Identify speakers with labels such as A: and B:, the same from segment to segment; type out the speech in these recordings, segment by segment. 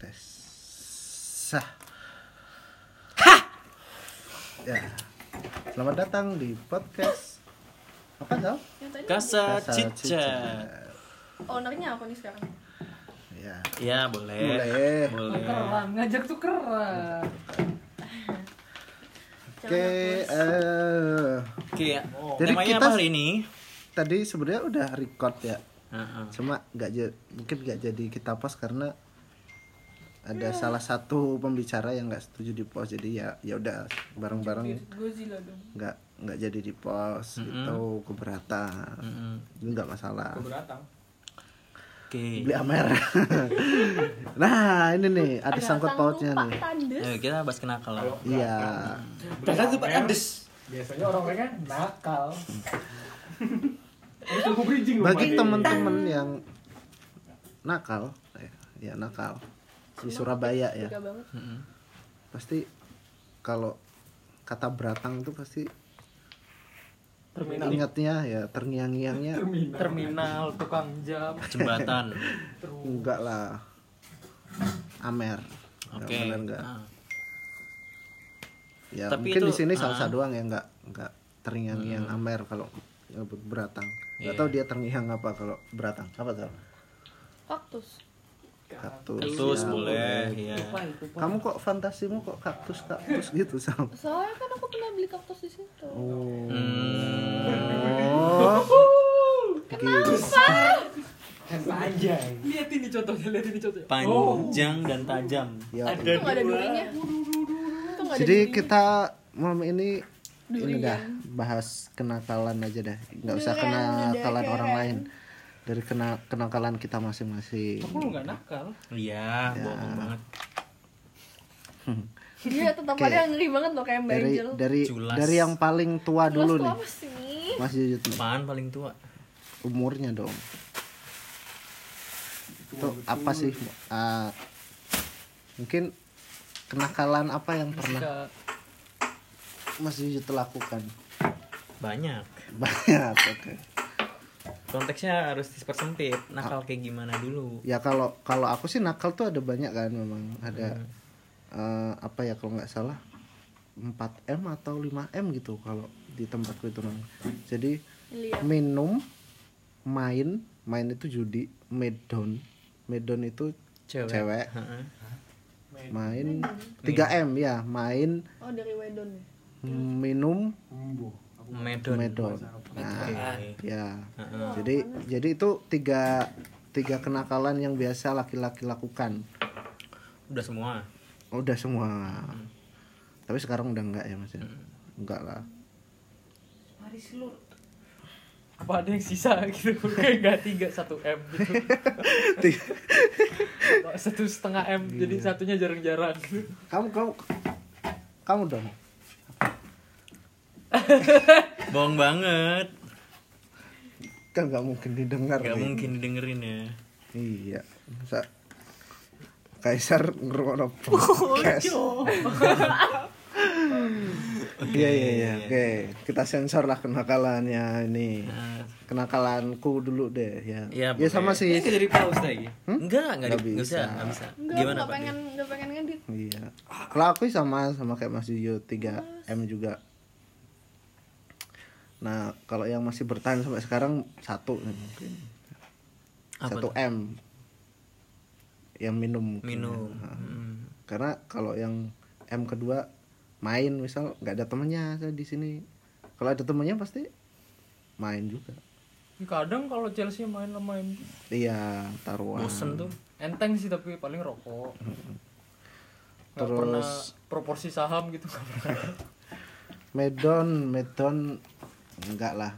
A: tes sah ya selamat datang di podcast apa sal
B: Yang tadi
C: Kasa
A: Kasa
C: cicat.
A: Cicat.
B: ownernya apa nih sekarang?
A: ya
C: Ya boleh.
A: Boleh.
C: Boleh.
D: Tukeran, ngajak tukeran.
B: Jangan
A: oke
B: hapus.
A: eh,
C: Oke ya.
A: Jadi
C: Temanya
A: kita-
C: apa hari ini?
A: tadi sebenarnya udah record ya
C: Heeh.
A: cuma nggak jadi mungkin nggak jadi kita post karena ada salah satu pembicara yang nggak setuju di post jadi ya ya udah bareng-bareng
D: Godzilla dong.
A: nggak nggak jadi di post
C: Mm-mm.
A: gitu keberatan
C: Mm-mm.
A: Ini nggak masalah
C: Oke.
A: beli amer nah ini nih ada
B: Ada
A: sangkut
B: sang
A: pautnya
B: tumpah
A: nih
B: tandes.
C: Ayo, kita bahas kenakalan.
A: iya
C: Padahal tuh Pak Andes.
E: Biasanya orang-orangnya nakal. Ini tunggu
C: Iya.
E: bridging loh,
A: bagi
E: Made.
A: temen-temen yang nakal eh, ya nakal di Surabaya ya
B: Tiga banget.
A: pasti kalau kata beratang tuh pasti
D: Terminal.
A: ingatnya ya terngiang-ngiangnya
E: Terminal.
D: Terminal, tukang jam,
C: Jembatan.
A: Nah,
D: terus
A: enggak lah amer Enggak,
C: Oke.
A: bener enggak.
C: Ah.
A: ya
C: Tapi
A: mungkin di
C: itu-
A: sini
C: ah.
A: salsa
C: Hmm.
A: doang ya nggak nggak terngiang-ngiang amer kalau nyebut beratang nggak
C: Iya.
A: tahu dia terngiang apa kalau beratang apa tuh
B: Kaktus.
A: kaktus,
C: Kaktus
A: ya,
C: boleh.
A: boleh.
C: Ya.
D: apa itu? Pak?
A: kamu kok fantasimu kok kaktus kaktus gitu sal
B: Soalnya kan aku pernah beli kaktus di situ.
A: oh,
B: Kenapa?
E: Kan Saja.
D: Lihat ini contohnya, lihat ini contohnya.
A: Oh.
C: Panjang dan tajam.
A: Ya.
B: Itu nggak ada durinya. Itu nggak ada
A: jadi
B: durinya.
A: kita malam ini ini
B: Durian.
A: dah bahas kenakalan aja dah nggak usah
B: Durian,
A: kenakalan
B: durian.
A: orang lain dari kena kenakalan kita masing-masing
D: Aku lu nggak nakal.
C: Iya,
A: Ya.
C: bohong banget.
B: Iya, tetap
A: Oke.
B: ada yang ngeri banget loh kayak Mbak
A: dari
B: Angel.
A: dari
C: Culas.
A: dari yang paling tua
B: Mas,
A: dulu
B: tuh
A: nih
B: apa sih?
A: Mas Yuyut nih.
C: Apaan paling tua?
A: umurnya dong itu apa sih uh, mungkin kenakalan apa yang pernah
D: Jika
A: Mas Yuyut lakukan
C: Banyak.
A: banyak oke
C: Konteksnya harus dipersempit. Nakal kayak gimana dulu?
A: ya kalau kalau aku sih nakal tuh ada banyak kan memang ada eh, apa ya kalau nggak salah 4 m atau 5 m gitu kalau di tempatku itu Mang. jadi
B: Iya.
A: minum main main itu judi medon medon itu cewek,
C: Heeh.
A: main 3 m ya main
B: Oh, dari Wedon ya?
A: minum
C: Medon.
A: medon nah
C: Oke.
A: ya jadi jadi itu tiga tiga kenakalan yang biasa laki-laki lakukan Oh,
C: Udah semua.
A: Udah semua.
C: Hmm.
A: Tapi sekarang udah enggak ya Mas ya? Enggak lah.
D: apa ada yang sisa gitu kayak nggak tiga satu m gitu
A: Tiga.
D: satu setengah m
E: Iya.
D: jadi satunya jarang-jarang gitu.
A: Kamu kamu kamu dong.
C: Bohong banget.
A: Kan nggak mungkin didengar.
C: Gak
A: nih.
C: mungkin dengerin ya.
A: Iya. Masa Kaisar ngerungokno podcast. Iya iya iya. Oke, kita sensor lah kenakalannya ini.
C: Nah,
A: Kenakalanku dulu deh ya.
C: Iya,
A: ya sama
C: boleh.
A: sih. Hmm?
C: Ini jadi paus lagi. Enggak, enggak
A: Nggak
C: di- nggak
A: bisa.
C: bisa, enggak bisa.
B: Enggak,
C: Gimana
B: nggak
C: Pak?
B: pengen, nggak pengen ngedit.
A: Iya. Kalau aku sama sama kayak Mas Yuyo 3 M juga. Nah, kalau yang masih bertahan sampai sekarang satu nih mungkin.
C: Apa
A: Satu
C: tuh?
A: M. Yang minum. mungkin
C: Minum.
A: ya. Nah,
C: Hmm.
A: Karena kalau yang M kedua main misal nggak ada temennya saya di sini. Kalau ada temennya pasti main juga.
D: kadang kalau Chelsea main sama MU
A: Iya, taruhan.
C: Bosen tuh.
D: enteng sih tapi paling rokok nggak
A: Terus-
D: pernah proporsi saham gitu nggak pernah.
A: Medon, medon enggak lah.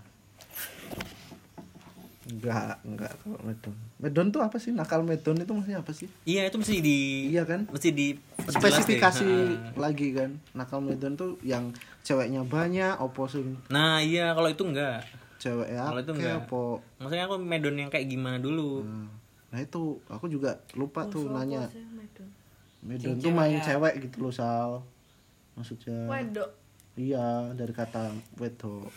A: Enggak, enggak kalau medon. Medon tuh apa sih? Nakal medon itu maksudnya apa sih?
C: Iya, itu mesti di
A: Iya kan?
C: Mesti di
A: Spesifikasi lagi kan. Nakal medon tuh yang ceweknya banyak, opo sing
C: Nah, iya kalau itu enggak.
A: cewek ya,
C: Kalau itu enggak.
A: opo.
C: Maksudnya aku medon yang kayak gimana dulu.
A: Nah, Nah itu aku juga lupa tuh
B: Soal
A: nanya.
B: puasanya Wedon.
A: Medon tuh main
F: ya.
A: cewek gitu loh, Sal. Maksudnya.
B: Wedok.
A: Iya, dari kata wedok.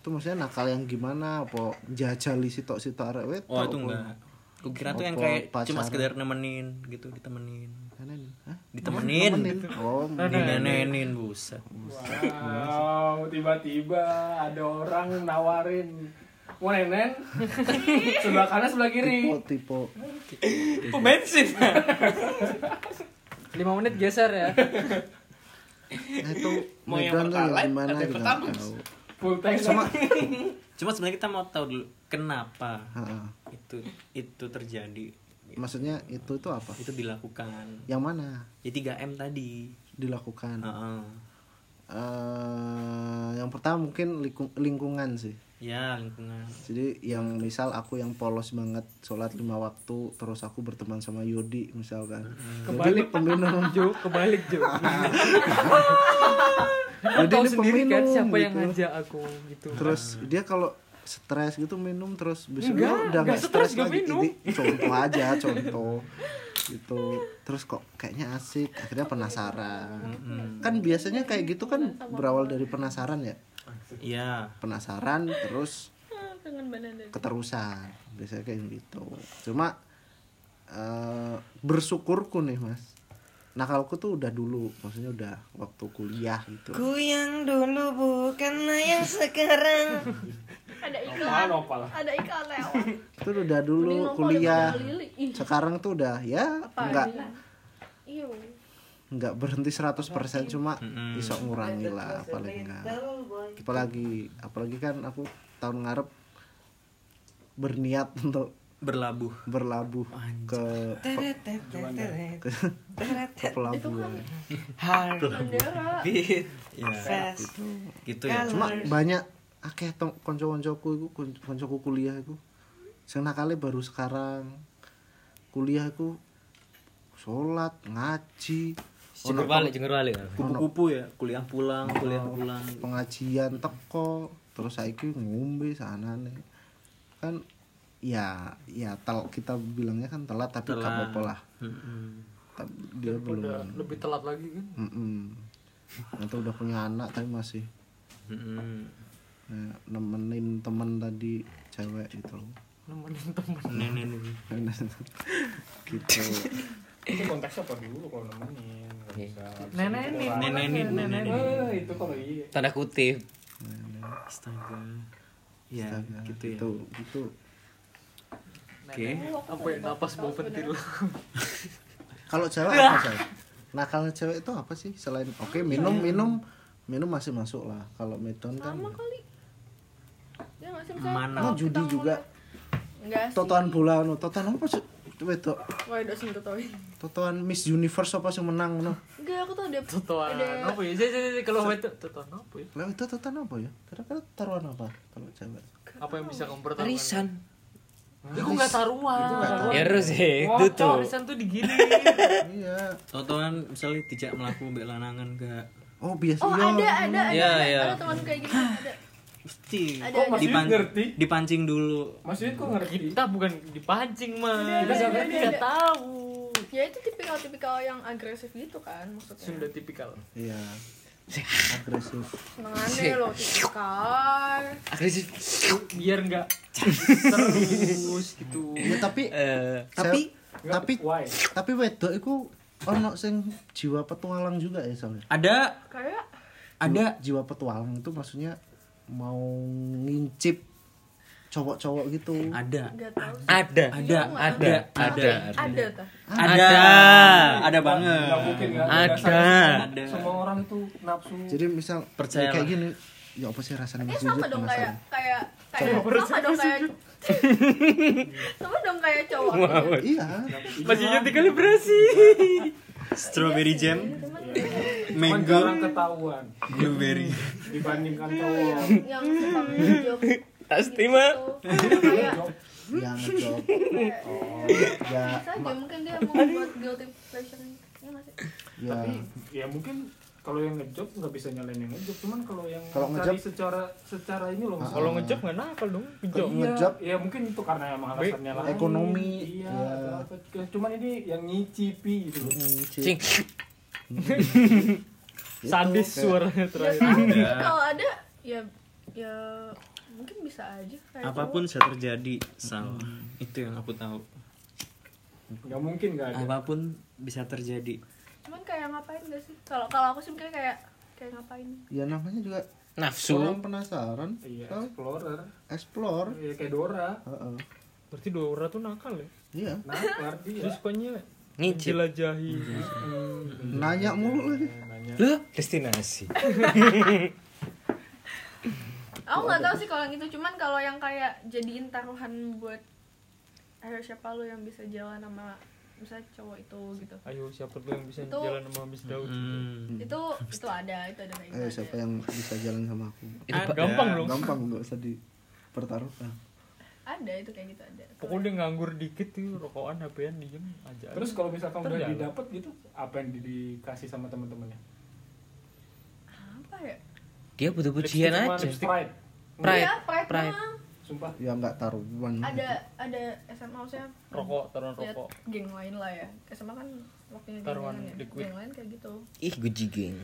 A: Itu maksudnya nakal yang gimana? Apa jajali sitok-sitok arek wedok?
C: Oh, itu
A: apa?
C: enggak.
F: Gue kira tuh yang
A: Opo,
F: kayak cuma
A: pacaran.
F: sekedar nemenin gitu, ditemenin.
A: Nenenin. Hah?
F: Ditemenin.
A: Nemenin. Oh,
F: Dinenenin buset.
E: Wow, tiba-tiba ada orang nawarin mau nenen sebelah kanan sebelah
A: tipe
E: kiri.
A: tipe
F: Pemensin.
D: Lima menit geser ya.
A: nah itu
F: Mau
A: Medan
F: yang
A: tuh yang
F: pertalite
A: gimana
F: atau
A: juga nggak
F: pertamax?
A: tahu
E: Full tank sama
F: Cuma sebenarnya kita mau tahu dulu kenapa
A: Ha-ha.
F: itu itu terjadi.
A: maksudnya itu itu apa
F: Itu dilakukan.
A: yang mana
F: Ya 3M tadi.
A: dilakukan
F: Heeh.
A: Eh, yang pertama mungkin lingkung- lingkungan sih
F: Ya lingkungan.
A: jadi yang misal aku yang polos banget sholat lima waktu terus aku berteman sama Yodi misalkan Yodi ini
D: Kebalik.
A: peminum
D: Jo, kebalik Jo.
A: Jadi
D: Tahu
A: ini
D: sendiri kan
A: peminum,
D: siapa yang
A: gitu.
D: ngajak aku gitu.
A: terus dia kalau stres gitu minum terus besok
D: Enggak,
A: udah
D: enggak
A: nggak
D: stres,
A: stres
D: enggak
A: lagi
D: minum.
A: ini contoh aja contoh gitu terus kok kayaknya asik akhirnya penasaran kan biasanya kayak gitu kan berawal dari penasaran ya
F: Ya.
A: penasaran terus
B: Ah, kangen badan deh.
A: keterusan biasanya kayak gitu cuma eh, bersyukurku nih mas nakalku tuh udah dulu maksudnya udah waktu kuliah gitu
G: Ku yang dulu bukan yang sekarang
B: Ada iklan.
E: Apaan, opal?
B: Ada iklan lewat.
A: itu udah
B: Mending
A: dulu
B: nongol
A: kuliah
B: daripada lili. Ih, Iya,
A: sekarang tuh udah ya
B: Apaan?
A: nggak
B: Iyo.
A: nggak berhenti 100% cuma
F: Mm-mm.
A: bisa ngurangi lah paling nggak apalagi apalagi kan aku tahun ngarep berniat untuk
F: Berlabuh.
A: berlabuh ke ke, ke pelabuhan
B: Bendera.
F: Ya. Gitu ya.
A: cuma banyak akeh tong konco-koncoku iku kon- koncoku kuliah iku sing nakale baru sekarang kuliah iku sholat ngaji ono
H: Jenggur balik, jenggur balik.
F: Kupu-kupu ya. Kuliah pulang, kuliah pulang.
A: pengajian teko terus saiki ngombe sanane kan ya ya tel, kita bilangnya kan telat tapi
F: Telat.
A: gak apa lah
F: Mm-mm.
A: Tapi dia
D: Udah
A: belum
D: lebih telat lagi kan.
A: Mm-mm. atau udah punya anak tapi masih
F: Mm-mm.
A: eh, nemenin temen tadi cewek gitu loh
D: Nemenin temen.
F: Nenek nih.
A: gitu
E: Itu konteksnya apa dulu kalau nemenin? Nggak bisa.
D: Nenenin.
F: Nenenin, nenenin.
E: Eh, itu kalau iya.
H: Tanda kutip.
F: Astaga.
B: Iya,
F: Ya,
A: Astaga,
F: gitu ya.
A: gitu, gitu.
F: Oke.
D: Apa ya napas bau pentil.
A: Kalau cewek apa cewek? Nakalnya cewek itu apa sih selain
B: Iya,
A: oke minum minum minum masih masuk lah. Kalau meton kan
B: Sama kali. Ya nggak sih
F: Mana?
A: Oh, judi juga.
B: Enggak sih.
A: totoan bola no, totoan apa sih? Wedok,
B: Wah, udah sih totoin.
A: totoan Miss Universe apa sih menang no?
B: Enggak, aku tuh ada
D: Tutuan.
B: ada
D: Apa ya? Jadi jadi kalau itu tutuan apa ya?
A: Lah itu totoan apa ya? Kira-kira taruhan apa kalau cewek?
D: Apa yang bisa kamu pertaruhkan?
H: Arisan.
D: Ya kok enggak taruhan. Iya,
H: Ya harus
G: eh,
H: sih,
D: Wah, cowok
H: tutup.
D: Arisan tuh digini.
A: Iya.
F: Totoan misalnya tidak melaku mbek lanangan gak
A: Oh biasa
B: Oh,
A: iya.
B: ada, ada, ada.
H: Iya,
B: ada.
H: iya.
B: Ada teman kayak gitu, ada.
F: mesti
B: Ada, ada.
E: Kok Mas Yud
F: Dipan-
E: ngerti?
F: dipancing dulu.
E: Mas Yud kok ngerti?
D: Kita bukan dipancing mah.
B: Udah,
D: Kita
B: udah,
D: sebenarnya
B: udah,
D: tidak
B: udah.
D: tahu.
B: Ya itu tipikal-tipikal yang agresif gitu kan
D: Sunda
B: maksudnya.
D: tipikal.
A: Iya. Agresif.
B: Seneng aneh loh
A: Iya.
B: tipikal.
H: Agresif.
D: Biar enggak terus gitu.
A: Ya tapi
H: Eh,
A: tapi
E: Nggak,
A: tapi
E: why?
A: tapi wedok itu ono sing jiwa petualang juga ya soalnya.
F: Ada
B: Kayak
A: ada jiwa petualang itu maksudnya mau ngincip cowok-cowok gitu
F: ada
B: enggak tahu sih.
H: ada.
F: ada
B: Iya,
F: ada ada
B: Ada tah.
F: ada ada banget.
E: Nggak mungkin
D: ya.
E: nggak
H: Ada.
E: Ada. Semua orang tuh nafsu.
A: jadi misal
F: Percayalah.
A: kayak gini ya apa sih rasanya
B: Eh
A: Mas
B: sama
A: Yujud
B: dong kayak
A: penasaran?
B: kayak kayak sama dong kayak sama dong kayak cowok.
A: iya
D: Masih jadi kalibrasi.
F: Strawberry jam,
B: Cuman
E: Cuman jarang
F: mango,
E: ketahuan
F: blueberry.
E: dibandingkan cowok.
B: yang yang sifatnya jok
H: Pasti mah.
B: gitu. Kayak
A: ya ngejok ya
B: bisa aja mungkin dia mau buat guilty pleasure. Iya nggak sih?
A: ya
E: Tapi ya mungkin kalau yang ngejob nggak bisa nyalain yang ngejob, cuman kalau yang
A: Kalau
E: cari
A: ngejob-
E: secara secara ini loh.
A: Ah.
D: Kalau ngejok enggak nakal dong,
A: Kalau
D: pinjol.
A: ngejob
E: Iya, ya mungkin itu karena emang alasannya lain.
A: ekonomi,
E: Iya.
A: ya.
E: atau apa. Cuman ini yang ngicipi gitu. loh.
A: ngicip,
H: Cing.
A: gitu.
D: Sadis
E: Iya.
A: Kayak
D: suaranya
B: Ya
D: terakhir.
B: tahu kalau ada ya ya mungkin bisa aja kayak
F: Apapun
B: cowok.
F: bisa terjadi, Sal. Itu yang aku tahu.
E: nggak mungkin nggak ada
F: Apapun bisa terjadi.
B: cuman kayak ngapain gak sih kalau kalau aku sih kayak kayak kayak ngapain
A: ya namanya juga
F: Nafsu.
A: orang penasaran
E: iya
A: tau?
E: explorer
A: explore
E: iya kayak Dora
A: Heeh.
I: Berarti dua orang tuh nakal ya?
A: iya
E: nakar dia
I: Terus sukanya
F: Ngicip.
I: jelajahi.
E: Iya.
A: nanya mulu lagi
E: nanya
F: Loh, destinasi.
B: aku nggak tahu sih kalau yang itu cuman kalau yang kayak jadiin taruhan buat ayo siapa lu yang bisa jalan sama misalnya cowok itu gitu
I: Ayo siapa tuh yang bisa
B: Itu-
I: jalan sama Miss Daud?
F: Hmm.
B: itu itu ada itu ada kayak
A: eh
B: gitu
A: siapa
B: ada.
A: yang bisa jalan sama aku
D: Iya.
F: Itu
I: Ah,
F: ba-
I: gampang dong.
A: gampang nggak usah dipertaruhkan
B: ada itu kayak gitu ada
I: Pokoknya dia nganggur dikit tuh rokokan HP-an diem aja.
E: terus kalau misalkan udah
I: Terjalan.
E: didapat gitu apa yang di- dikasih sama teman-temannya
B: apa ya
F: Dia butuh pujian aja.
E: Sprite
F: Pride.
B: Iya, pride,
F: Pride.
B: doang.
E: sumpah
A: ya nggak taruhan
B: ada ada SMA saya
I: rokok, taruhan
B: lihat
I: rokok.
B: geng lain lah ya SMA kan waktunya geng
I: Taruhan
B: lain ya
I: liquid.
B: geng lain kayak gitu
F: Ih, guji geng.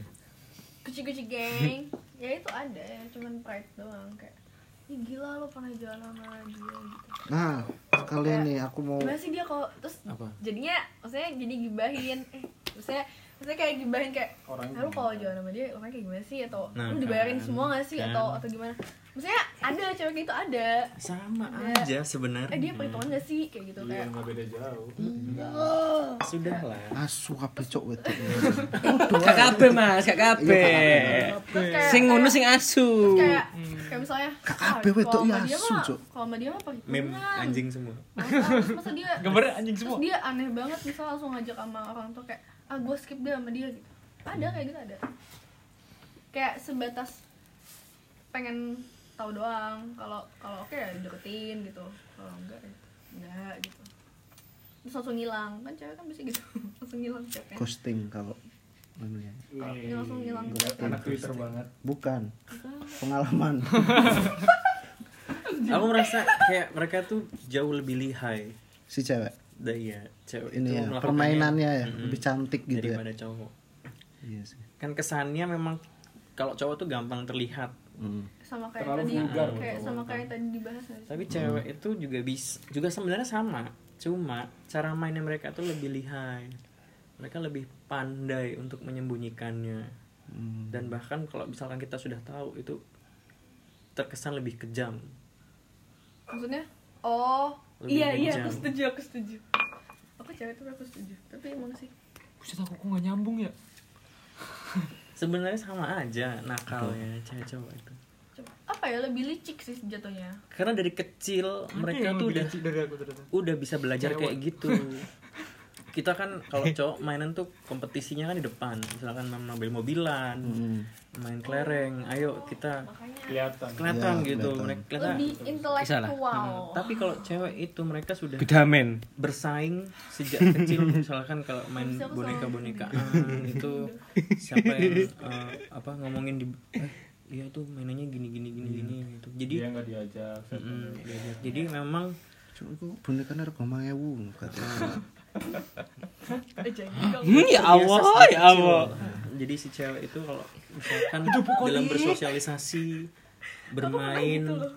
B: kuci-kuci geng ya itu ada cuman pride doang kayak Ih gila lo pernah jalan sama dia gitu
A: nah sekalian nih aku mau
B: Gimana sih dia kalau terus jadinya maksudnya jadi gibahin eh maksudnya maksudnya kayak gibahin kayak
E: Orang
B: "Ah, lu kalau jalan sama dia orangnya kayak gimana sih atau
C: Nah,
B: lu dibayarin
C: kan,
B: semua gak sih
C: kan.
B: atau atau gimana maksudnya ada cewek kayak gitu ada
F: Sama
B: Ada.
F: aja
B: eh dia
F: sebenarnya.
B: perhitungan gak sih kayak Hmm. gitu
E: iya
B: kayak
E: nggak beda jauh
F: Sudahlah.
A: asu kabeh cok wetok
F: KKB Mas, KKB.
A: Iya,
B: terus kayak
F: Sing ngono
B: kayak-
F: sing asu.
B: terus
G: Ya
B: kayak kayak misalnya
A: Kakak
B: "Ah,
A: abe wedok
B: kalau sama
A: ya
B: dia
A: asu,
B: mah-
A: Cuk."
B: kalau sama dia mah perhitungan
F: Mem anjing semua.
B: Masa- masa dia
I: Gambarnya anjing semua.
B: terus dia aneh banget misal langsung ngajak sama orang tuh kayak ah gue skip deh sama dia gitu ada kayak gitu ada kayak sebatas pengen tahu doang kalau kalau oke ya deketin gitu kalau enggak ya enggak gitu terus langsung ngilang kan cewek kan bisa gitu langsung ngilang chatnya
A: ghosting kalau namanya
B: Kalau dia langsung ngilang chatnya
E: anak Twitter banget
A: bukan pengalaman
F: Aku merasa kayak mereka tuh jauh lebih lihai
A: si cewek
F: dari ya cewek itu
A: ini ya
F: melakukannya
A: permainannya ya
F: Mm-mm.
A: lebih cantik gitu ya
F: daripada cowok.
A: iya sih
F: Kan kesannya memang kalau cowok tuh gampang terlihat
A: Mm.
B: sama kayak
E: Terlalu
B: tadi
E: vulgar.
B: kayak sama kayak yang tadi dibahas nggak sih?
F: tapi cewek itu juga bisa juga sebenarnya sama cuma cara mainnya mereka tuh lebih lihai mereka lebih pandai untuk menyembunyikannya
A: Mm.
F: dan bahkan kalau misalkan kita sudah tahu itu terkesan lebih kejam
B: maksudnya oh
F: Lebih
B: iya iya
F: kejam.
B: aku setuju aku setuju aku cewek tuh aku setuju tapi emang sih
I: Buset aku kok gak nyambung ya?
F: sebenarnya sama aja nakalnya cewek cowok itu
B: Cuma, apa ya lebih licik sih jatuhnya
F: karena dari kecil
I: Ada
F: mereka
I: yang
F: tuh
I: lebih
F: udah
I: licik dari aku ternyata.
F: udah bisa belajar
I: Cewek.
F: kayak gitu kita kan kalau cowok mainan tuh kompetisinya kan di depan misalkan main mobil-mobilan
A: Mm.
F: main kelereng ayo kita
B: makanya
E: Iya, kelihatan
F: kelihatan
A: Ya,
F: gitu
A: kelihatan.
F: mereka kelihatan.
B: lebih
F: Hmm,
B: intelektual
F: tapi kalau cewek itu mereka sudah
C: Bedamen.
F: bersaing sejak kecil misalkan kalau main
B: Harusnya aku
F: boneka
B: sama.
F: bonekaan itu siapa yang eh, apa ngomongin di eh, iya tuh mainannya gini gini gini gini gitu jadi
E: dia nggak diajak
F: mm, jadi memang
A: Cuk, itu boneka rego 5000 katanya.
B: Eh, jadi dong.
A: Iya,
F: ya
C: Allah, ya Allah.
F: jadi si cewek itu kalau misalkan dalam bersosialisasi bermain
B: gitu loh.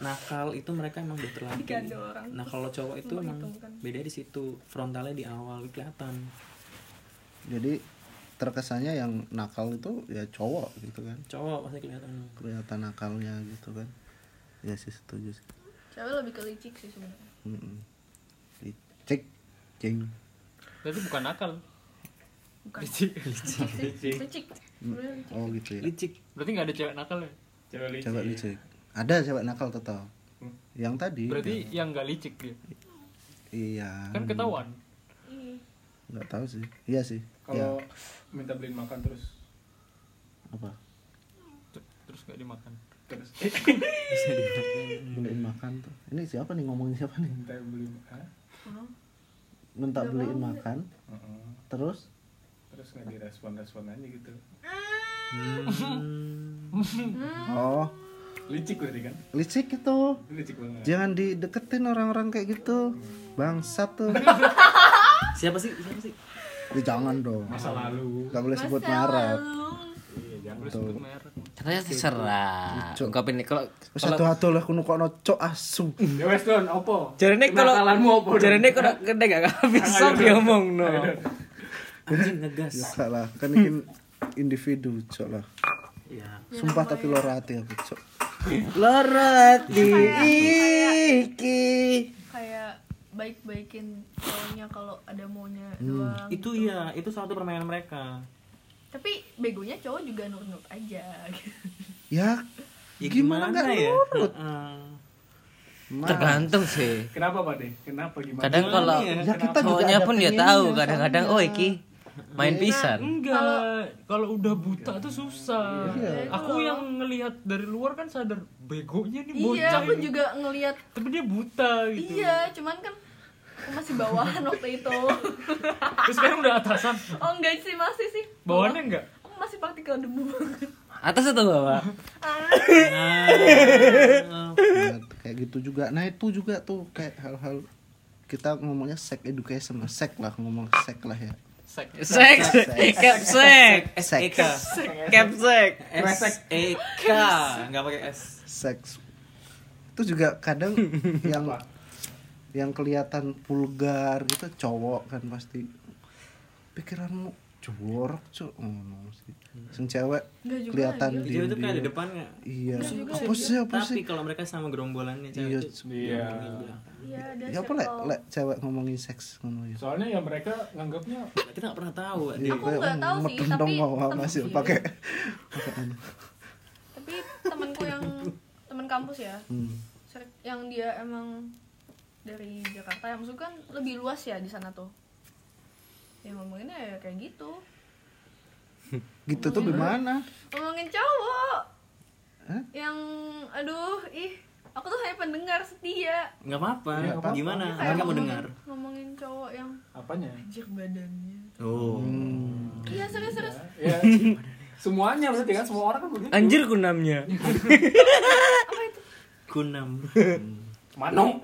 F: nakal itu mereka emang udah terlatih
B: Digandol orang.
F: nah kalau cowok itu
B: Untuk
F: emang
B: itu, bukan.
F: beda di situ frontalnya di awal kelihatan
A: jadi terkesannya yang nakal itu ya cowok gitu kan
F: cowok pasti kelihatan
A: kelihatan nakalnya gitu kan ya sih setuju sih
B: cewek lebih ke licik sih sebenarnya
A: Mm-mm. dicek ceng
I: Tapi bukan nakal.
B: bukan
I: Licik.
B: licik sih
E: Licik.
B: licik Sebenarnya licik.
A: oh gitu ya
F: licik
I: Berarti gak ada cewek nakal ya?
D: Iya.
E: cewek licik
A: coba dicek ada cewek nakal total
E: Hmm.
A: yang tadi
I: Berarti
A: yang-
I: yang gak licik dia.
A: iya
D: Hmm.
I: Kan ketahuan.
B: Ih,
A: nggak tahu sih iya sih
E: kalau
A: ya
E: minta beliin makan terus
A: apa
I: Terus gak dimakan.
E: terus
A: beliin makan tuh ini siapa nih ngomongin siapa nih
E: minta beliin makan
F: Hmm.
B: oh.
A: minta
B: Nggak
A: beliin
B: mau.
A: makan terus
E: terus nggak direspon respon aja gitu
F: Hmm.
A: oh
E: licik berarti kan
A: licik itu
E: licik banget
A: jangan dideketin orang-orang kayak gitu bangsat tuh
F: siapa sih siapa sih
A: Ya, jangan dong
E: masa lalu
A: nggak boleh sebut
B: Masa
A: merek
B: lalu.
E: iya Jangan
A: Betul.
E: sebut merek.
G: Katanya terserah.
A: Cuk.
G: Ungkapin nih kalau
A: satu
G: kalau
A: hatu lah kuno kono cok asu
E: Ya wes Don, opo?
G: Jarene kalau
E: Kenakalanmu opo? Don?
G: jarene kalau gede gak bisa diomong no.
F: anjing ngegas
A: ya salah kan ini individu cok lah
F: ya
A: sumpah tapi lora hati aku cok
G: Lorot di
B: Kayak-
G: iki.
B: kayak baik-baikin cowoknya kalau ada maunya doang
F: Hmm. itu
B: gitu.
F: ya itu salah satu permainan mereka
B: tapi begonya cowok juga nurut-nurut aja
A: ya
F: ya
A: Gimana
F: gimana,
A: nggak
F: ya
A: nurut?
F: Heeh.
A: mana
G: Tergantung sih.
E: Kenapa Pak De? Kenapa gimana?
G: Kadang
F: Gimana
G: kalau
F: ya?
A: ya kita juga
G: cowoknya
A: ada
G: pun ya
A: pengennya, kan? Iya.
G: tahu kadang-kadang
A: soalnya.
G: oh iki main pisan.
D: Enggak, kalau udah buta tuh susah.
A: Iya.
D: Aku yang ngelihat dari luar kan sadar begonya nih bocah.
B: iya aku
D: ini.
B: juga ngelihat
D: Tapi dia buta gitu.
B: iya cuman kan aku masih bawahan waktu itu
D: Terus sekarang udah atasan.
B: oh enggak sih masih sih
D: Bawaannya enggak?
B: aku masih praktikal debu banget
G: Atas atau bawah?
A: Nah, kayak gitu juga nah itu juga tuh kayak hal-hal kita ngomongnya sex education lah sek lah ngomong sek lah ya
G: Seks, capsek,
A: sek
G: capsek.
F: S-E-K Nggak pakai S
A: seks itu juga kadang yang yang kelihatan vulgar gitu cowok kan pasti pikiranmu jorok cok ngono sih sing cewek
B: enggak juga
A: Kelihatan.
B: lagi.
A: Di-
F: Dia itu kayak di
A: di-
F: depan nggak?
A: iya
B: Enggak juga
A: apa sih apa
F: Tapi
A: sih
F: kalau mereka sama gerombolannya
A: Iya,
F: cewek itu
E: Iya.
B: iya ada
A: ya apa
B: circle.
A: lek lek cewek ngomongin seks ngono ya
E: Soalnya ya mereka nganggapnya
F: Kita nggak pernah tahu
A: Iya,
B: Aku
A: kayak,
B: nggak
A: "Mm,
B: tahu sih,
A: meteng
B: tapi
A: dong kok
B: temen
A: masih
B: sih.
A: pakai
B: tapi temanku yang teman kampus ya
A: hmm.
B: Ser- yang dia emang dari Jakarta yang maksudnya kan lebih luas ya di sana tuh ya ngomonginnya ya kayak gitu
A: gitu tuh gimana
B: ngomongin cowok
A: Hah?
B: yang aduh ih aku tuh hanya pendengar setia
F: Nggak apa-apa
A: Iya,
E: Nggak apa-apa.
F: Gimana?
B: Dia
F: Kan kamu
B: ngomongin-
F: dengar
B: ngomongin cowok yang
E: apanya?
B: anjir badannya
F: Oh
A: Hmm.
B: iya serius serius
E: Ya, semuanya berarti kan semua orang kan begitu.
G: Anjir kunamnya.
F: Kunam
E: Mano.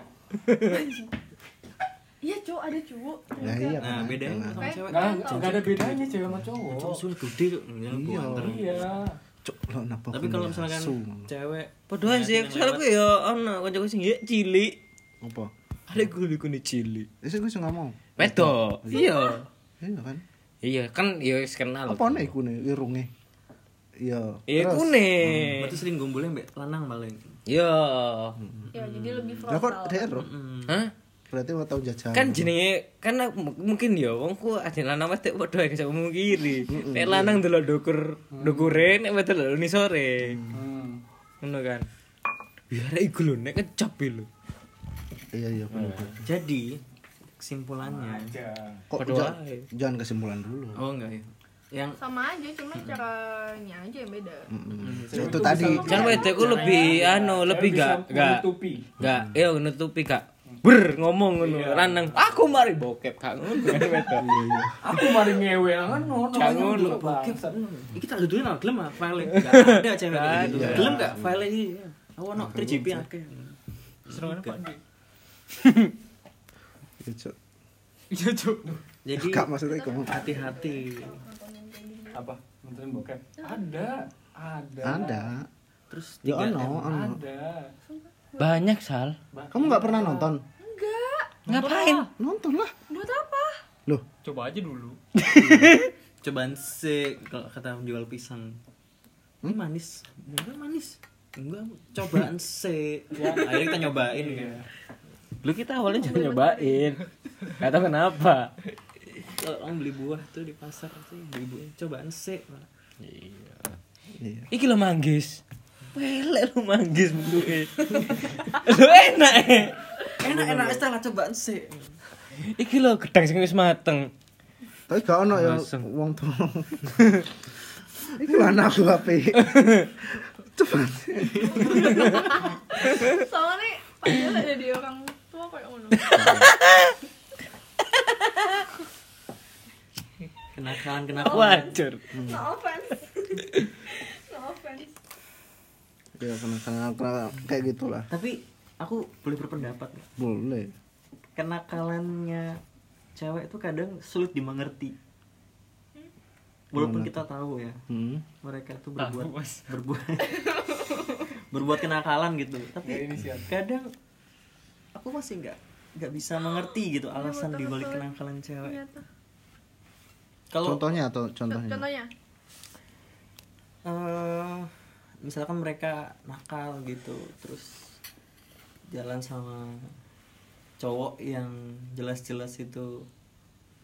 B: iya cowok ada cowok
A: ya iya
F: Nah
A: kan,
F: bedanya
A: kan.
F: sama cewek
E: Enggak enggak ada bedanya cewek sama cowok.
F: Cowok sulit gede tuh Jangan
A: Oh. Iya.
F: buang terus.
E: Iya.
A: cok lo napa
F: Tapi kalau misalkan cewek
G: Padahal sih,
F: ngeliatin yang
G: soalnya gue ya, ono kancaku sing ya cilik.
A: apa
G: Ada gue liku nih cilik.
A: Isi gue sih ngomong
G: Wedo. Iya.
A: iya kan
G: Iya kan ya wis kenal.
A: apa nih iku nih irunge iya
G: Iya
A: terus?
G: kune.
F: lewat. Berarti sering gombolnya mbak lanang paling
G: Iya. Hmm.
B: ya jadi lebih
A: lah kok
B: frontal
A: dero
G: Hah?
A: berarti mau tahu jajan
G: Kan jenenge kan aku- m- mungkin ya wong ku ada lanang mesti padha ae sama kiri. Nek lanang delok dokur dokure nek wedok delok ni sore.
E: Hmm.
G: Ngono kan. Mm. Biar iku lho nek kecap iki lho.
A: iya iya bener.
F: Jadi kesimpulannya
E: Ya.
A: kok
G: Padahal
A: jangan,
G: ae.
A: jangan kesimpulan dulu
F: Oh enggak ya Yang
B: sama aja cuma caranya aja yang beda
A: Hmm. Mm-mm.
E: Cewek
A: itu
E: itu
A: tadi
E: bisa-
G: Kan wedok ku lebih anu
E: Cewek
G: lebih
E: bisa
G: gak gak
E: menutupi.
G: gak yo nutupi gak ber ngomong ngono lanang aku mari bokep kak ngono kan wedok.
E: Aku mari ngewe kan ngono.
G: Jangan ngono,
E: bangsat.
F: Ini kita ada dulu gelem ah file Gak ada cewek kayak gitu
A: Ada.
F: Gelem gak file ini Aku no 3GP akeh
D: Serangannya Pak Dik.
A: Iya, Cok.
D: Iya, Cuk.
F: Jadi
A: Kak maksudnya kamu
F: hati-hati
E: Apa? Nontonin bokep. Ada. Ada.
A: ada
F: Terus
A: ya
F: tiga
A: ono ono
E: Ada.
G: Banyak sal.
A: kamu nggak pernah nonton
B: enggak
G: Ngapain?
A: nonton lah
B: buat apa
A: loh
D: Coba aja dulu.
F: Cobaan sih kalau kata penjual pisang Ini manis Enggak manis Enggak cobaan sih Akhirnya kita nyobain kan
G: Lu kita awalnya jangan nyobain. Gak tau kenapa.
F: Kalau orang beli buah tuh di pasar sih Beli buah cobaan sih
A: iya
G: Iki lo manggis. Pelek lo manggis bentuke. Lo enak eh.
F: Enak-enak setelah cobaan sih
G: Iki lo gedang sing wis mateng.
A: tapi gak ono ya
G: Langsung.
A: wong tuh itu anak aku HP cepat
B: soalnya nih padahal ada di orang tua kayak ngono
G: Oh.
F: Kenakalan-kenakalan
G: Wajar.
B: no offense no offense
A: ya kena kena kena- kayak gitulah
F: Tapi aku boleh berpendapat nggak?
A: boleh
F: kenakalannya cewek itu kadang sulit dimengerti walaupun
A: Gimana
F: kita tahu ya
A: Hmm.
F: mereka tuh berbuat berbuat berbuat kenakalan gitu tapi kadang aku masih nggak nggak bisa mengerti gitu alasan
B: betul,
F: dibalik
B: betul.
F: kenakalan cewek
B: ternyata
F: kalau
A: Contohnya atau contohnya?
B: contohnya
F: eh misalkan mereka nakal gitu terus jalan sama cowok yang jelas-jelas itu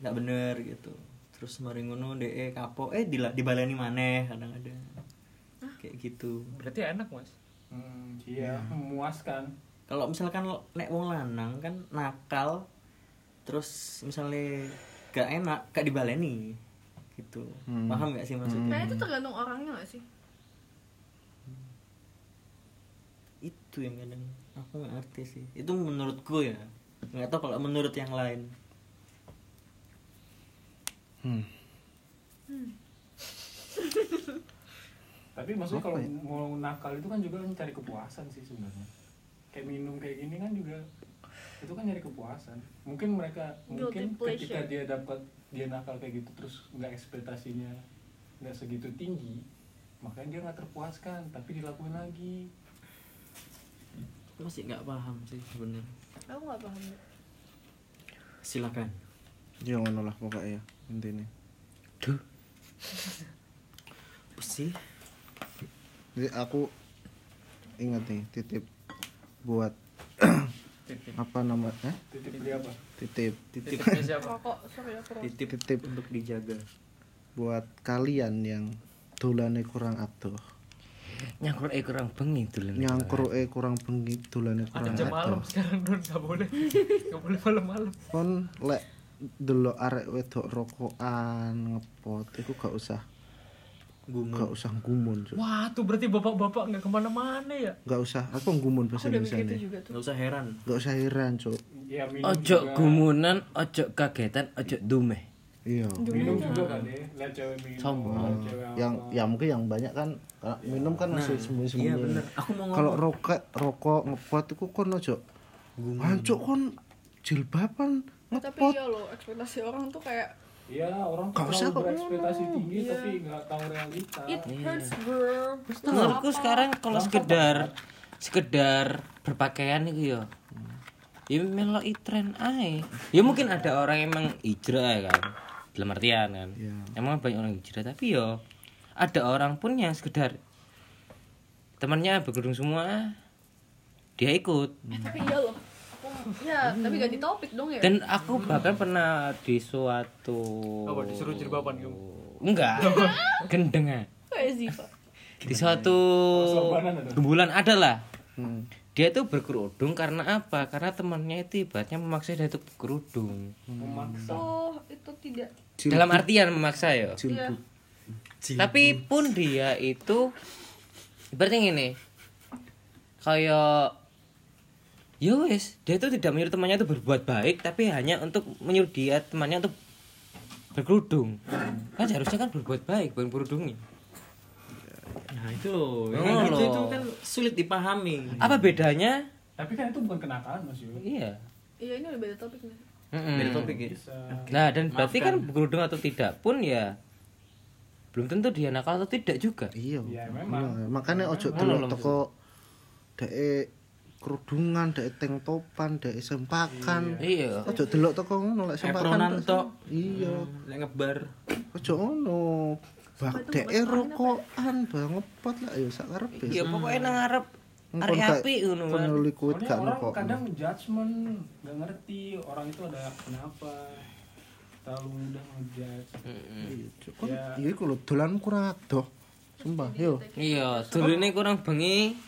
F: nggak bener gitu terus mari ngono de kapo eh dila, dibaleni maneh kadang-kadang kayak gitu
D: Berarti enak, Mas.
E: Hmm, iya, memuaskan.
F: kalau misalkan lo- nek wong lanang kan nakal terus misalnya gak enak gak dibaleni gitu
A: Hmm.
F: paham gak sih maksudnya
B: nah itu tergantung orangnya gak sih
F: itu yang kadang aku nggak ngerti sih itu menurutku ya nggak tahu kalau menurut yang lain
A: Hmm.
E: Tapi maksudnya
A: Apa
E: kalau
A: ya?
E: mau nakal itu kan juga kan cari kepuasan sih sebenarnya. Kayak minum kayak gini kan juga itu kan nyari kepuasan. Mungkin mereka
B: Guilty
E: mungkin ketika
B: pleasure.
E: dia dapat dia nakal kayak gitu terus nggak ekspektasinya nggak segitu tinggi, makanya dia nggak terpuaskan tapi dilakuin lagi.
F: masih nggak paham sih sebenarnya
B: aku gak paham
F: silakan
A: Ya ngono lah pokoknya ya intinya.
F: apa sih
A: Jadi aku ingat nih titip buat apa namanya?
E: Titip beli apa?
A: Titip
F: titip
D: Iya,
B: rokok sorry aku rokok
F: titip
A: titip
F: untuk dijaga
A: buat kalian yang dolane kurang adoh.
G: Nyangkur eh kurang bengi dulu.
A: Nyangkruke kurang bengi dolane
D: Ada
A: kurang
D: jam malam
A: adoh.
D: sekarang, Don. Gak boleh. Gak boleh malam-malam.
A: Kon lek delok arek wedok rokokan ngepot iku gak usah gak
F: gumun
A: usah gumun Cuk.
D: Wah, tuh berarti bapak-bapak gak kemana-mana ya?
A: gak usah aku gumun bahasa Indonesia nih
B: juga
F: nggak usah heran
A: gak usah heran cuk
E: Ya minum
G: Ojo
E: juga.
G: gumunan, ojo kagetan, ojo dumeh.
A: iya
E: Minum juga kali, ya. lihat cewek minum. lihat cewek apa.
A: yang ya mungkin yang banyak kan ah, minum kan masih sembunyi sembunyi
F: iya bener aku mau
A: kalau
F: ngomong
A: roket rokok ngepot itu kon ojo hancur Ah, kon jilbaban
B: tapi
A: ngepot
B: iya loh ekspektasi orang tuh kayak
E: Iya, orang
A: Gak usah
E: terlalu
A: kok
E: berekspektasi
A: ngomong.
E: tinggi tapi nggak tahu realita.
B: Iya.
A: Iya.
B: it hurts bro Itu
G: Menurutku
B: apa?
G: sekarang kalau sekedar sekedar berpakaian itu ya. Ya meloi tren ae. Ya mungkin ada orang emang hijrah ya kan. Dalam artian kan.
F: Ya.
A: Iya.
G: Emang banyak orang hijrah tapi yo ada orang pun yang sekedar temannya berkerudung semua dia ikut
B: Eh, tapi iya loh aku ya
A: Hmm.
B: tapi ganti topik dong ya
G: dan aku bahkan pernah di suatu
D: Apa, disuruh jilbaban kamu?
G: enggak gendengan
B: kayak ya, Ziva
G: di suatu
E: Sorbanan ada?
G: gembulan ada lah
A: Hmm.
G: dia tuh berkerudung karena apa karena temannya itu ibaratnya memaksa dia itu berkerudung
E: Memaksa.
B: oh itu tidak
G: dalam artian memaksa ya
B: ya
G: tapi pun dia itu ibaratnya gini kayak ya wes dia tuh tidak menyuruh temannya itu berbuat baik tapi hanya untuk menyuruh dia temannya untuk berkerudung kan seharusnya kan berbuat baik bukan berkerudungnya
F: nah itu loh
G: Oh,
F: Yang gitu
G: loh.
F: itu kan sulit dipahami
G: apa bedanya
E: Tapi kan itu bukan kenakalan Mas Yul.
G: iya
B: iya ini udah beda topik nih
G: Mm-mm.
F: beda topik ya
E: Bisa
G: Nah, dan berarti
F: Maafkan.
G: kan berkerudung atau tidak pun ya belum tentu dia nakal atau tidak juga.
A: iya
E: Ya,
A: Iya,
E: memang.
A: makanya ojo delok teko dek kerudungan dek teng topan dek sempakan
G: Iya.
A: ojo delok teko ngono lek
F: Epronan
A: sempakan terus-
F: tok.
A: iya
F: Lek ngebar
A: ojo ngono bak
B: Sumpah itu
A: dek
B: ngebas banget
A: rokokan bang ngepot lah ya sak karepe
G: Iya, pokoknya nang ngarep arek apik ngono kan.
A: penuli kuit
E: Soalnya
A: gak
E: orang
A: nekok.
E: kadang judgement nggak ngerti orang itu ada kenapa terlalu mudah ngejudge.
A: Iya, Hmm. Cuk. Kon-
E: Ya.
A: iya iku lho dolan kurang adoh. Sumpah, yo.
G: Iya, dulune kurang bengi.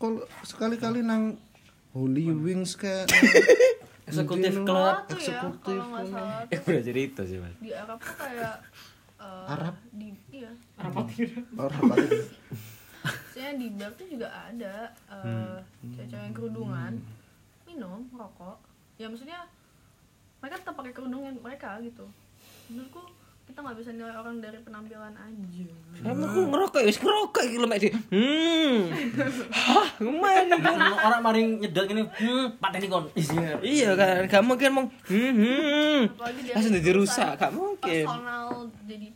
A: Kalau sekali-kali nang Holy Wings kayak
F: Eksekutif
A: Indino,
F: Club.
B: tuh ya
A: eksekutif
B: kalau nggak salah
G: Eh,
B: tuh
G: udah cerita sih, Mas.
B: di Arab tuh kayak eh,
A: Arab?
B: di iya
A: Ora paling-
B: Soalnya di bar tuh juga ada eh cewek-cewek yang kerudungan minum rokok ya maksudnya mereka tetap pakai kerudung yang mereka gitu menurutku kita nggak bisa nilai orang dari penampilan aja
G: Emang aku ngerokok, ya? wis ngerokok iki lho mek di. Hmm. Hah, gimana?
F: orang maring nyedak ini hmm pateni kon isinya
G: Iya kan, gak mungkin mong hmm, hmm.
B: apalagi dia
G: Langsung jadi
B: urusan
G: rusak, gak mungkin.
B: personal jadi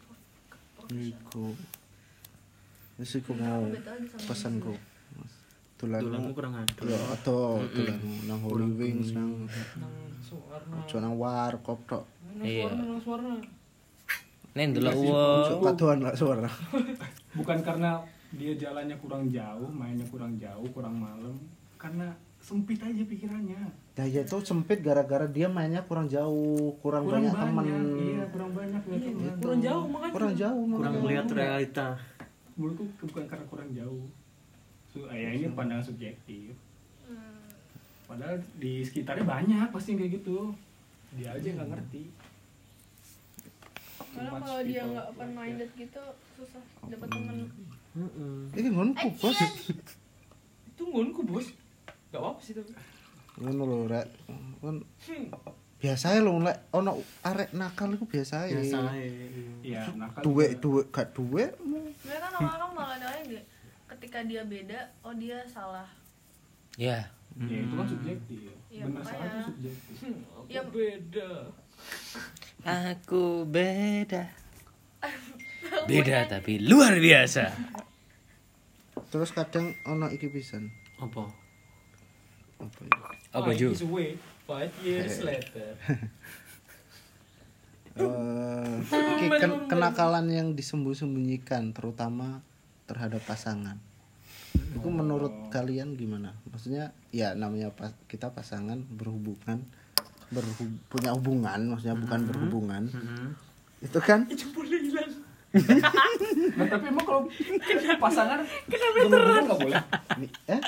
A: Iya. Niko. Terus iku mau pesanku. Tulan
F: Tulanmu kurang ada.
A: Yo ato tulan nang Holy Wings nang ojo nang warkop tok.
G: Iya.
E: suara
G: Nen dulu Oh.
A: Ojo paduan lah suara.
E: bukan karena dia jalannya kurang jauh mainnya kurang jauh kurang malam karena sempit aja pikirannya
A: Nah, ya itu sempit gara-gara dia mainnya kurang jauh, kurang, banyak,
E: kurang
A: teman.
E: banyak iya kurang banyak ya teman
D: kurang jauh makanya
A: Kurang jauh
F: Kurang
A: makanya.
F: melihat realita.
E: menurutku ke- bukan karena kurang jauh so, ya ini pandangan subjektif
D: Hmm.
E: padahal di sekitarnya banyak pasti yang kayak gitu dia aja nggak ngerti
B: Karena kalau dia nggak open minded gitu susah dapat temen.
A: Iki ngonku bos.
D: itu ngonku bos gak apa sih tapi Hm,
A: Ngono lho rek. Kon biasae lho lek ana arek nakal iku biasae.
C: Iya.
F: Biasa
A: Biasae.
F: ae.
E: ya nakal
A: Duit
E: juga.
A: duit gak duit
B: Sebenarnya kan orang-orang malah doain dia ketika dia beda, oh dia salah.
G: Ya.
E: ya itu kan subjektif
B: Iya,
E: benar
B: makanya.
E: salah itu subjektif
D: aku
B: Ya.
D: beda
G: Aku beda. Beda tapi luar biasa.
A: terus kadang ana iki pisan.
F: Apa?
A: Apa ya? iku?
G: Apa
D: Five
G: Ju?
D: is way, five years later
A: Eh, iki ken- kenakalan yang disembunyikan terutama terhadap pasangan. Itu menurut kalian gimana? Maksudnya ya namanya pas, kita pasangan berhubungan berhub- punya hubungan maksudnya bukan berhubungan. Itu kan
D: boleh hilang
E: nah, tapi emang kalau pasangan kenapa nggak boleh
A: Ni- eh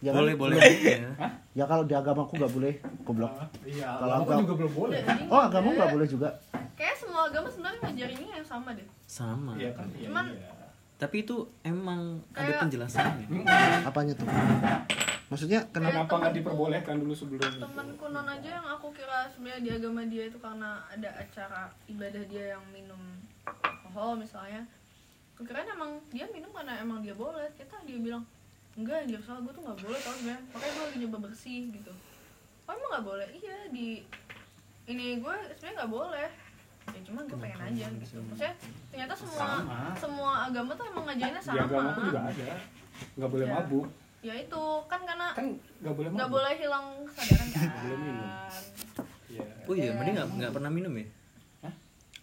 A: Ya kan?
F: Boleh
C: Iya.
F: boleh. ya.
A: Ya kalau di agamaku nggak boleh, goblok. Kalau
E: iya kalau aku
A: agama-
E: juga belum boleh
B: Udah, ini
A: Oh, agamamu
B: enggak.
A: nggak boleh juga.
B: Kayak semua agama sebenarnya ngajarinnya yang sama deh.
F: Sama.
E: iya kan iya
B: Cuman-
E: iya.
F: Tapi itu emang ada
B: Kayak-
F: penjelasannya.
C: Hmm.
A: Apanya tuh? Maksudnya kenapa?
E: kenapa nggak diperbolehkan dulu sebelum itu
B: Temanku non aja yang aku kira sebenarnya di agama dia itu karena ada acara ibadah dia yang minum alkohol misalnya. Kukirain emang dia minum karena emang dia boleh. Kita dia bilang enggak dia salah gue tuh nggak boleh tau sebenarnya. Makanya gue lagi nyoba bersih gitu. Oh emang nggak boleh? Iya di ini gue sebenarnya nggak boleh. Ya cuma gue pengen aja gitu. Maksudnya ternyata semua
E: Sama.
B: semua agama tuh emang ngajainnya
E: di
B: sama.
E: agama aku juga ada nggak boleh
B: Ya.
E: mabuk
B: Ya itu kan karena
E: kan nggak boleh
B: nggak
E: mabuk
B: boleh hilang kesadaran kan.
E: Boleh minum. Iya.
F: Oh iya, mending nggak nggak pernah minum ya?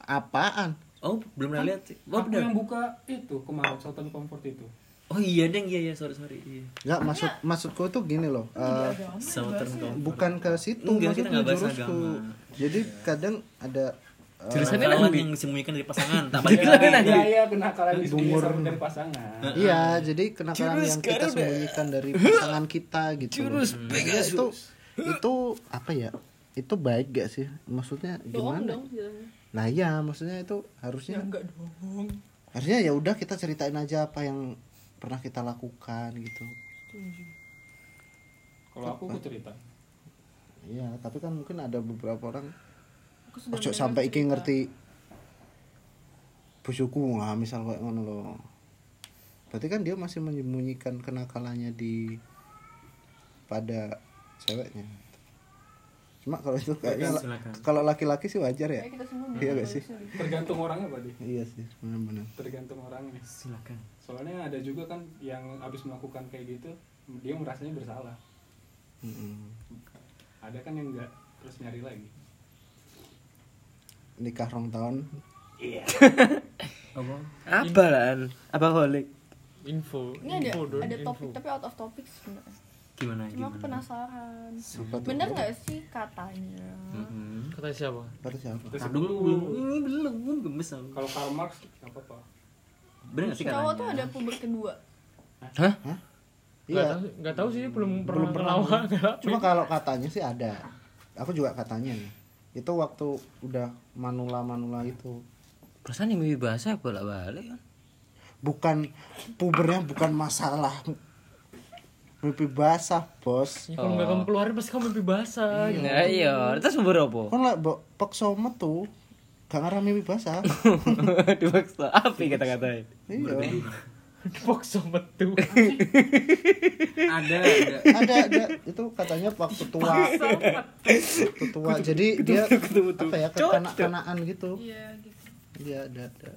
A: Apaan?
F: Oh belum pernah lihat sih. Oh
E: Aku
F: benar.
E: yang buka itu kemarin Southern Comfort itu.
F: Oh iya deng, iya iya sorry sorry. Iya.
B: Oh
A: Enggak maksud maksudku tuh gini loh. eh,
B: Iya.
F: Southern Comfort.
A: bukan ke situ
F: Enggak, kita
A: maksudnya
F: nggak bahas
A: jurusku.
F: agama.
A: Jadi kadang ada eh,
F: Jelas kawan yang disembunyikan dari pasangan, tak balik
E: Iya,
F: lagi nanti.
E: Iya, iya, kenakalan di
A: Bungur.
E: sama dari pasangan.
A: Iya, jadi kenakalan yang kita sembunyikan dari pasangan kita gitu. Jurus itu itu apa ya? Itu baik gak sih? Maksudnya gimana? Nah, ya maksudnya itu harusnya
F: Ya,
D: enggak dong
A: harusnya ya udah kita ceritain aja apa yang pernah kita lakukan gitu.
E: Kalau aku aku cerita.
A: Iya, tapi kan mungkin ada beberapa orang
B: Aku sudah
A: ojo
B: mendengar
A: sampai iki
B: cerita.
A: ngerti bojoku lah misal kayak ngono lho. Berarti kan dia masih menyembunyikan kenakalannya di pada ceweknya. Cuma kalau itu kayaknya la-
F: silakan.
A: kalau laki-laki sih wajar ya.
B: Kayak kita semua
A: Iya gak sih?
E: Tergantung orangnya, Pak. Di.
A: Iya sih, benar-benar.
E: Tergantung orangnya.
F: Silakan.
E: Soalnya ada juga kan yang habis melakukan kayak gitu, dia merasanya bersalah.
A: Mm-mm.
E: Ada kan yang enggak terus nyari lagi.
A: Nikah rong tahun
F: Apa?
G: Apa lan? Apa holik?
I: Info.
B: Ini ada
I: info Don,
B: ada
I: info.
B: topik tapi out of topic sebenarnya.
F: Gimana
B: Cuma aku
F: gimana?
B: penasaran.
A: sempat
B: Bener nggak sih katanya?
F: Mm-mm.
I: Kata siapa?
A: Kata siapa?
E: Terus
F: Tar dulu belum. Ini belum belum gemes aku.
E: Kalau Karl Marx nggak apa-apa.
F: Bener nggak sih katanya?
B: Cowok tuh ada puber kedua.
I: Nggak
A: Iya.
I: tahu- nggak tahu sih belum pernah
A: Belum pernah.
I: ngelawan.
A: Cuma kalau katanya sih ada. Aku juga katanya. Itu waktu udah manula-manula itu.
G: Perasaan yang mimpi bahasa bolak-balik kan.
A: bukan pubernya bukan masalah mimpi basah bos
I: Ya, kalau nggak kamu keluarin pasti kamu mimpi basah. gitu.
G: Ya iya, terus bubur apa?
A: kan lah mbok paksa metu gak ngarah mimpi basah
G: Dipaksa apa kata-katanya?
A: iya
D: gitu.
I: Dipaksa metu.
F: Ada ada.
A: ada ada itu katanya waktu tua waktu tua jadi dia apa ya kekanak-kanakan gitu
B: Iya gitu.
A: iya ada ada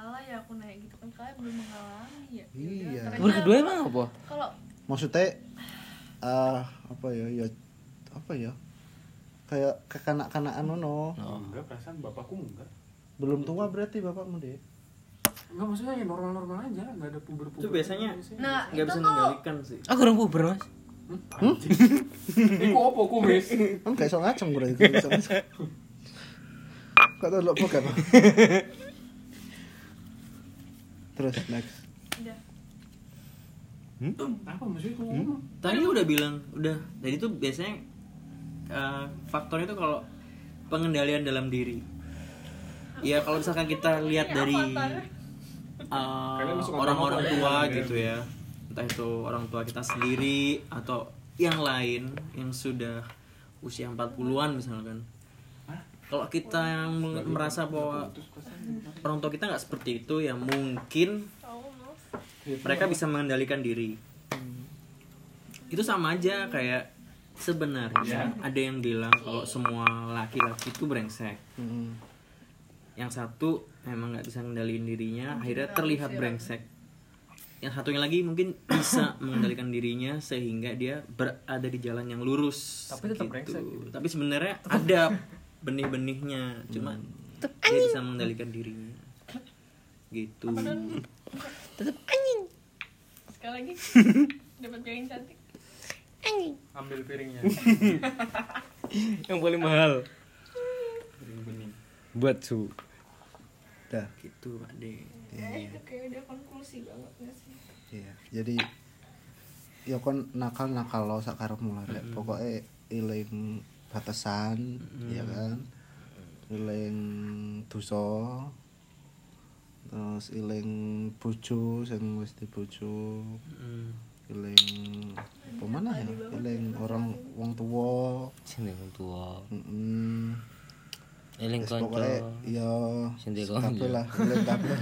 B: salah ya aku naik gitu kan kalian belum mengalami ya
A: Iya.
B: Makanya
G: Nomor kedua emang apa?
B: kalau
A: maksudnya ah apa ya ya apa ya kayak kekanak-kanakan ono
C: Oh.
E: Enggak, perasaan bapakku enggak.
A: belum tua berarti bapakmu deh
E: Enggak maksudnya ya normal-normal aja, enggak ada puber-puber.
C: Itu biasanya-
B: nah
C: nggak
B: itu
C: bisa
B: tuh
C: mengendalikan sih
G: Aku orang puber mas
E: Iku opo kumis?
A: enggak iso ngaceng berarti Kan gak iso ngaceng. kok tau lo bukan terus next
B: udah
E: Apa maksudnya itu ngomong?
F: Tadi udah bilang, udah. Jadi tuh biasanya eh, faktornya tuh kalau pengendalian dalam diri. Ya kalau misalkan kita lihat dari eh,
E: Kalian masuk
F: orang-orang
E: agama
F: tua
E: kok ya?
F: gitu ya, entah itu orang tua kita sendiri atau yang lain yang sudah usia 40-an misalkan. Kalau kita yang merasa bahwa orang tua kita nggak seperti itu ya mungkin
B: tahu mas
D: Iya,
F: mereka bisa mengendalikan diri
D: Hmm.
F: itu sama aja kayak sebenarnya
D: Iya.
F: ada yang bilang kalau semua laki-laki itu brengsek
A: Hmm.
F: yang satu memang nggak bisa mengendalikan dirinya
D: Hmm.
F: akhirnya terlihat brengsek yang satunya lagi mungkin bisa mengendalikan dirinya sehingga dia berada di jalan yang lurus
D: Tapi tetap brengsek gitu.
F: tapi sebenarnya ada benih-benihnya cuma
D: Hmm.
F: dia bisa mengendalikan dirinya gitu
B: sekali lagi dapat piring cantik
D: Ambil piringnya.
G: Yang paling mahal Buat su
A: dah
F: gitu pak De.
B: ya itu kayak udah konklusi banget nggak sih
A: iya jadi ya kon nakal nakal lo sakarep mulai rek. pokoknya iling batasan ya kan iling dosa terus iling bojo sing mesti bojo
F: Hmm.
A: iling apa mana ya iling orang wong tua
G: Sini orang tua
A: heeh
G: Eling
A: pokoknya
G: konco
A: ya
G: Sendiri
A: kabeh
G: konco
A: lah iling kabeh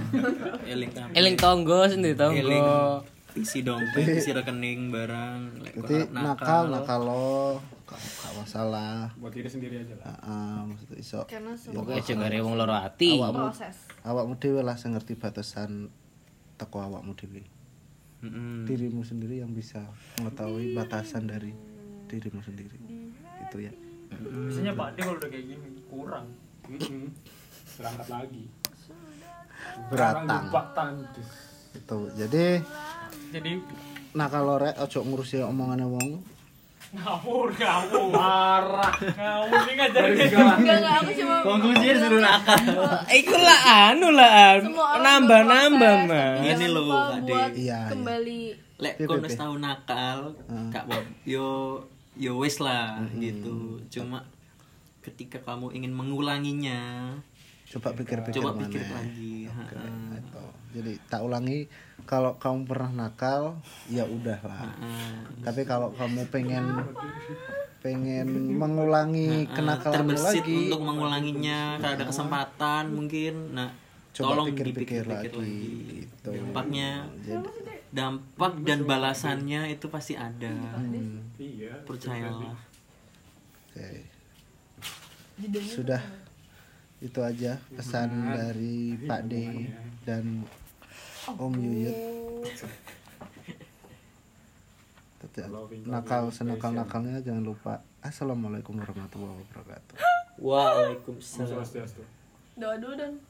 F: eling kabeh.
G: Eling tonggo
F: Eling.
G: sendiri tonggo
F: isi dompet isi rekening barang lek
A: jadi
F: korek
A: nakal nakal lo gak gak masalah
E: Buat diri sendiri aja lah.
A: Heeh, maksudnya iso
B: karena semua
G: Pokoknya aja gak ada wong loro hati
A: Awakmu.
B: proses
A: awakmu dhewe lah sing ngerti batasan teko awakmu dhewe.
F: Mm-mm.
A: Dirimu sendiri yang bisa mengetahui batasan dari dirimu sendiri. Itu ya.
D: Biasanya Pak D kalau udah kayak gini kurang.
E: Mm-mm. Hmm. Berangkat lagi.
A: Beratang.
E: Jebak tandus.
A: Itu. Jadi
D: Jadi
A: nakal lorek ojo ngurusi omongane wong.
D: ngawur, ngawur. Marah. Ngawur ini ngajarin
B: enggak enggak aku cuma
F: konklusinya disuruh nakal
G: Iku lah anu lah
B: Semua orang
G: Nambah-nambah
B: berproses,
G: mas
B: tapi
F: Ini
B: jangan
F: loh,
B: lupa
F: Kak De.
B: buat
A: Iya, iya.
B: kembali
F: Iya, lek
A: Piye,
F: kon
A: piye,
F: wis
A: piye?
F: tau nakal
A: Ah.
F: gak apa yo yo wis lah gitu cuma ketika kamu ingin mengulanginya
A: Coba pikir-pikir
F: coba
A: maneh.
F: pikir lagi
A: Oke,
F: Ha-ha.
A: itu. Gitu. Jadi tak ulangi kalau kamu pernah nakal ya udahlah.
F: Ha-ha.
A: Tapi kalau kamu pengen pengen mengulangi
F: Ah,
A: kenakalanmu
F: terbesit
A: lagi
F: untuk mengulanginya kalau ada kesempatan mungkin nah
A: coba
F: tolong
A: pikir-pikir
F: dipikir-pikir
A: lagi,
F: lagi,
A: gitu.
F: dampaknya
A: Jadi,
F: dampak dan balasannya itu pasti ada
E: Iya.
F: percayalah
A: oke. Sudah itu aja pesan dari Pak D dan Om Yuyut. Tetap nakal senakal nakalnya jangan lupa assalamualaikum warahmatullahi wabarakatuh.
F: waalaikumsalam
E: Swastiastu.
B: doa dulu dan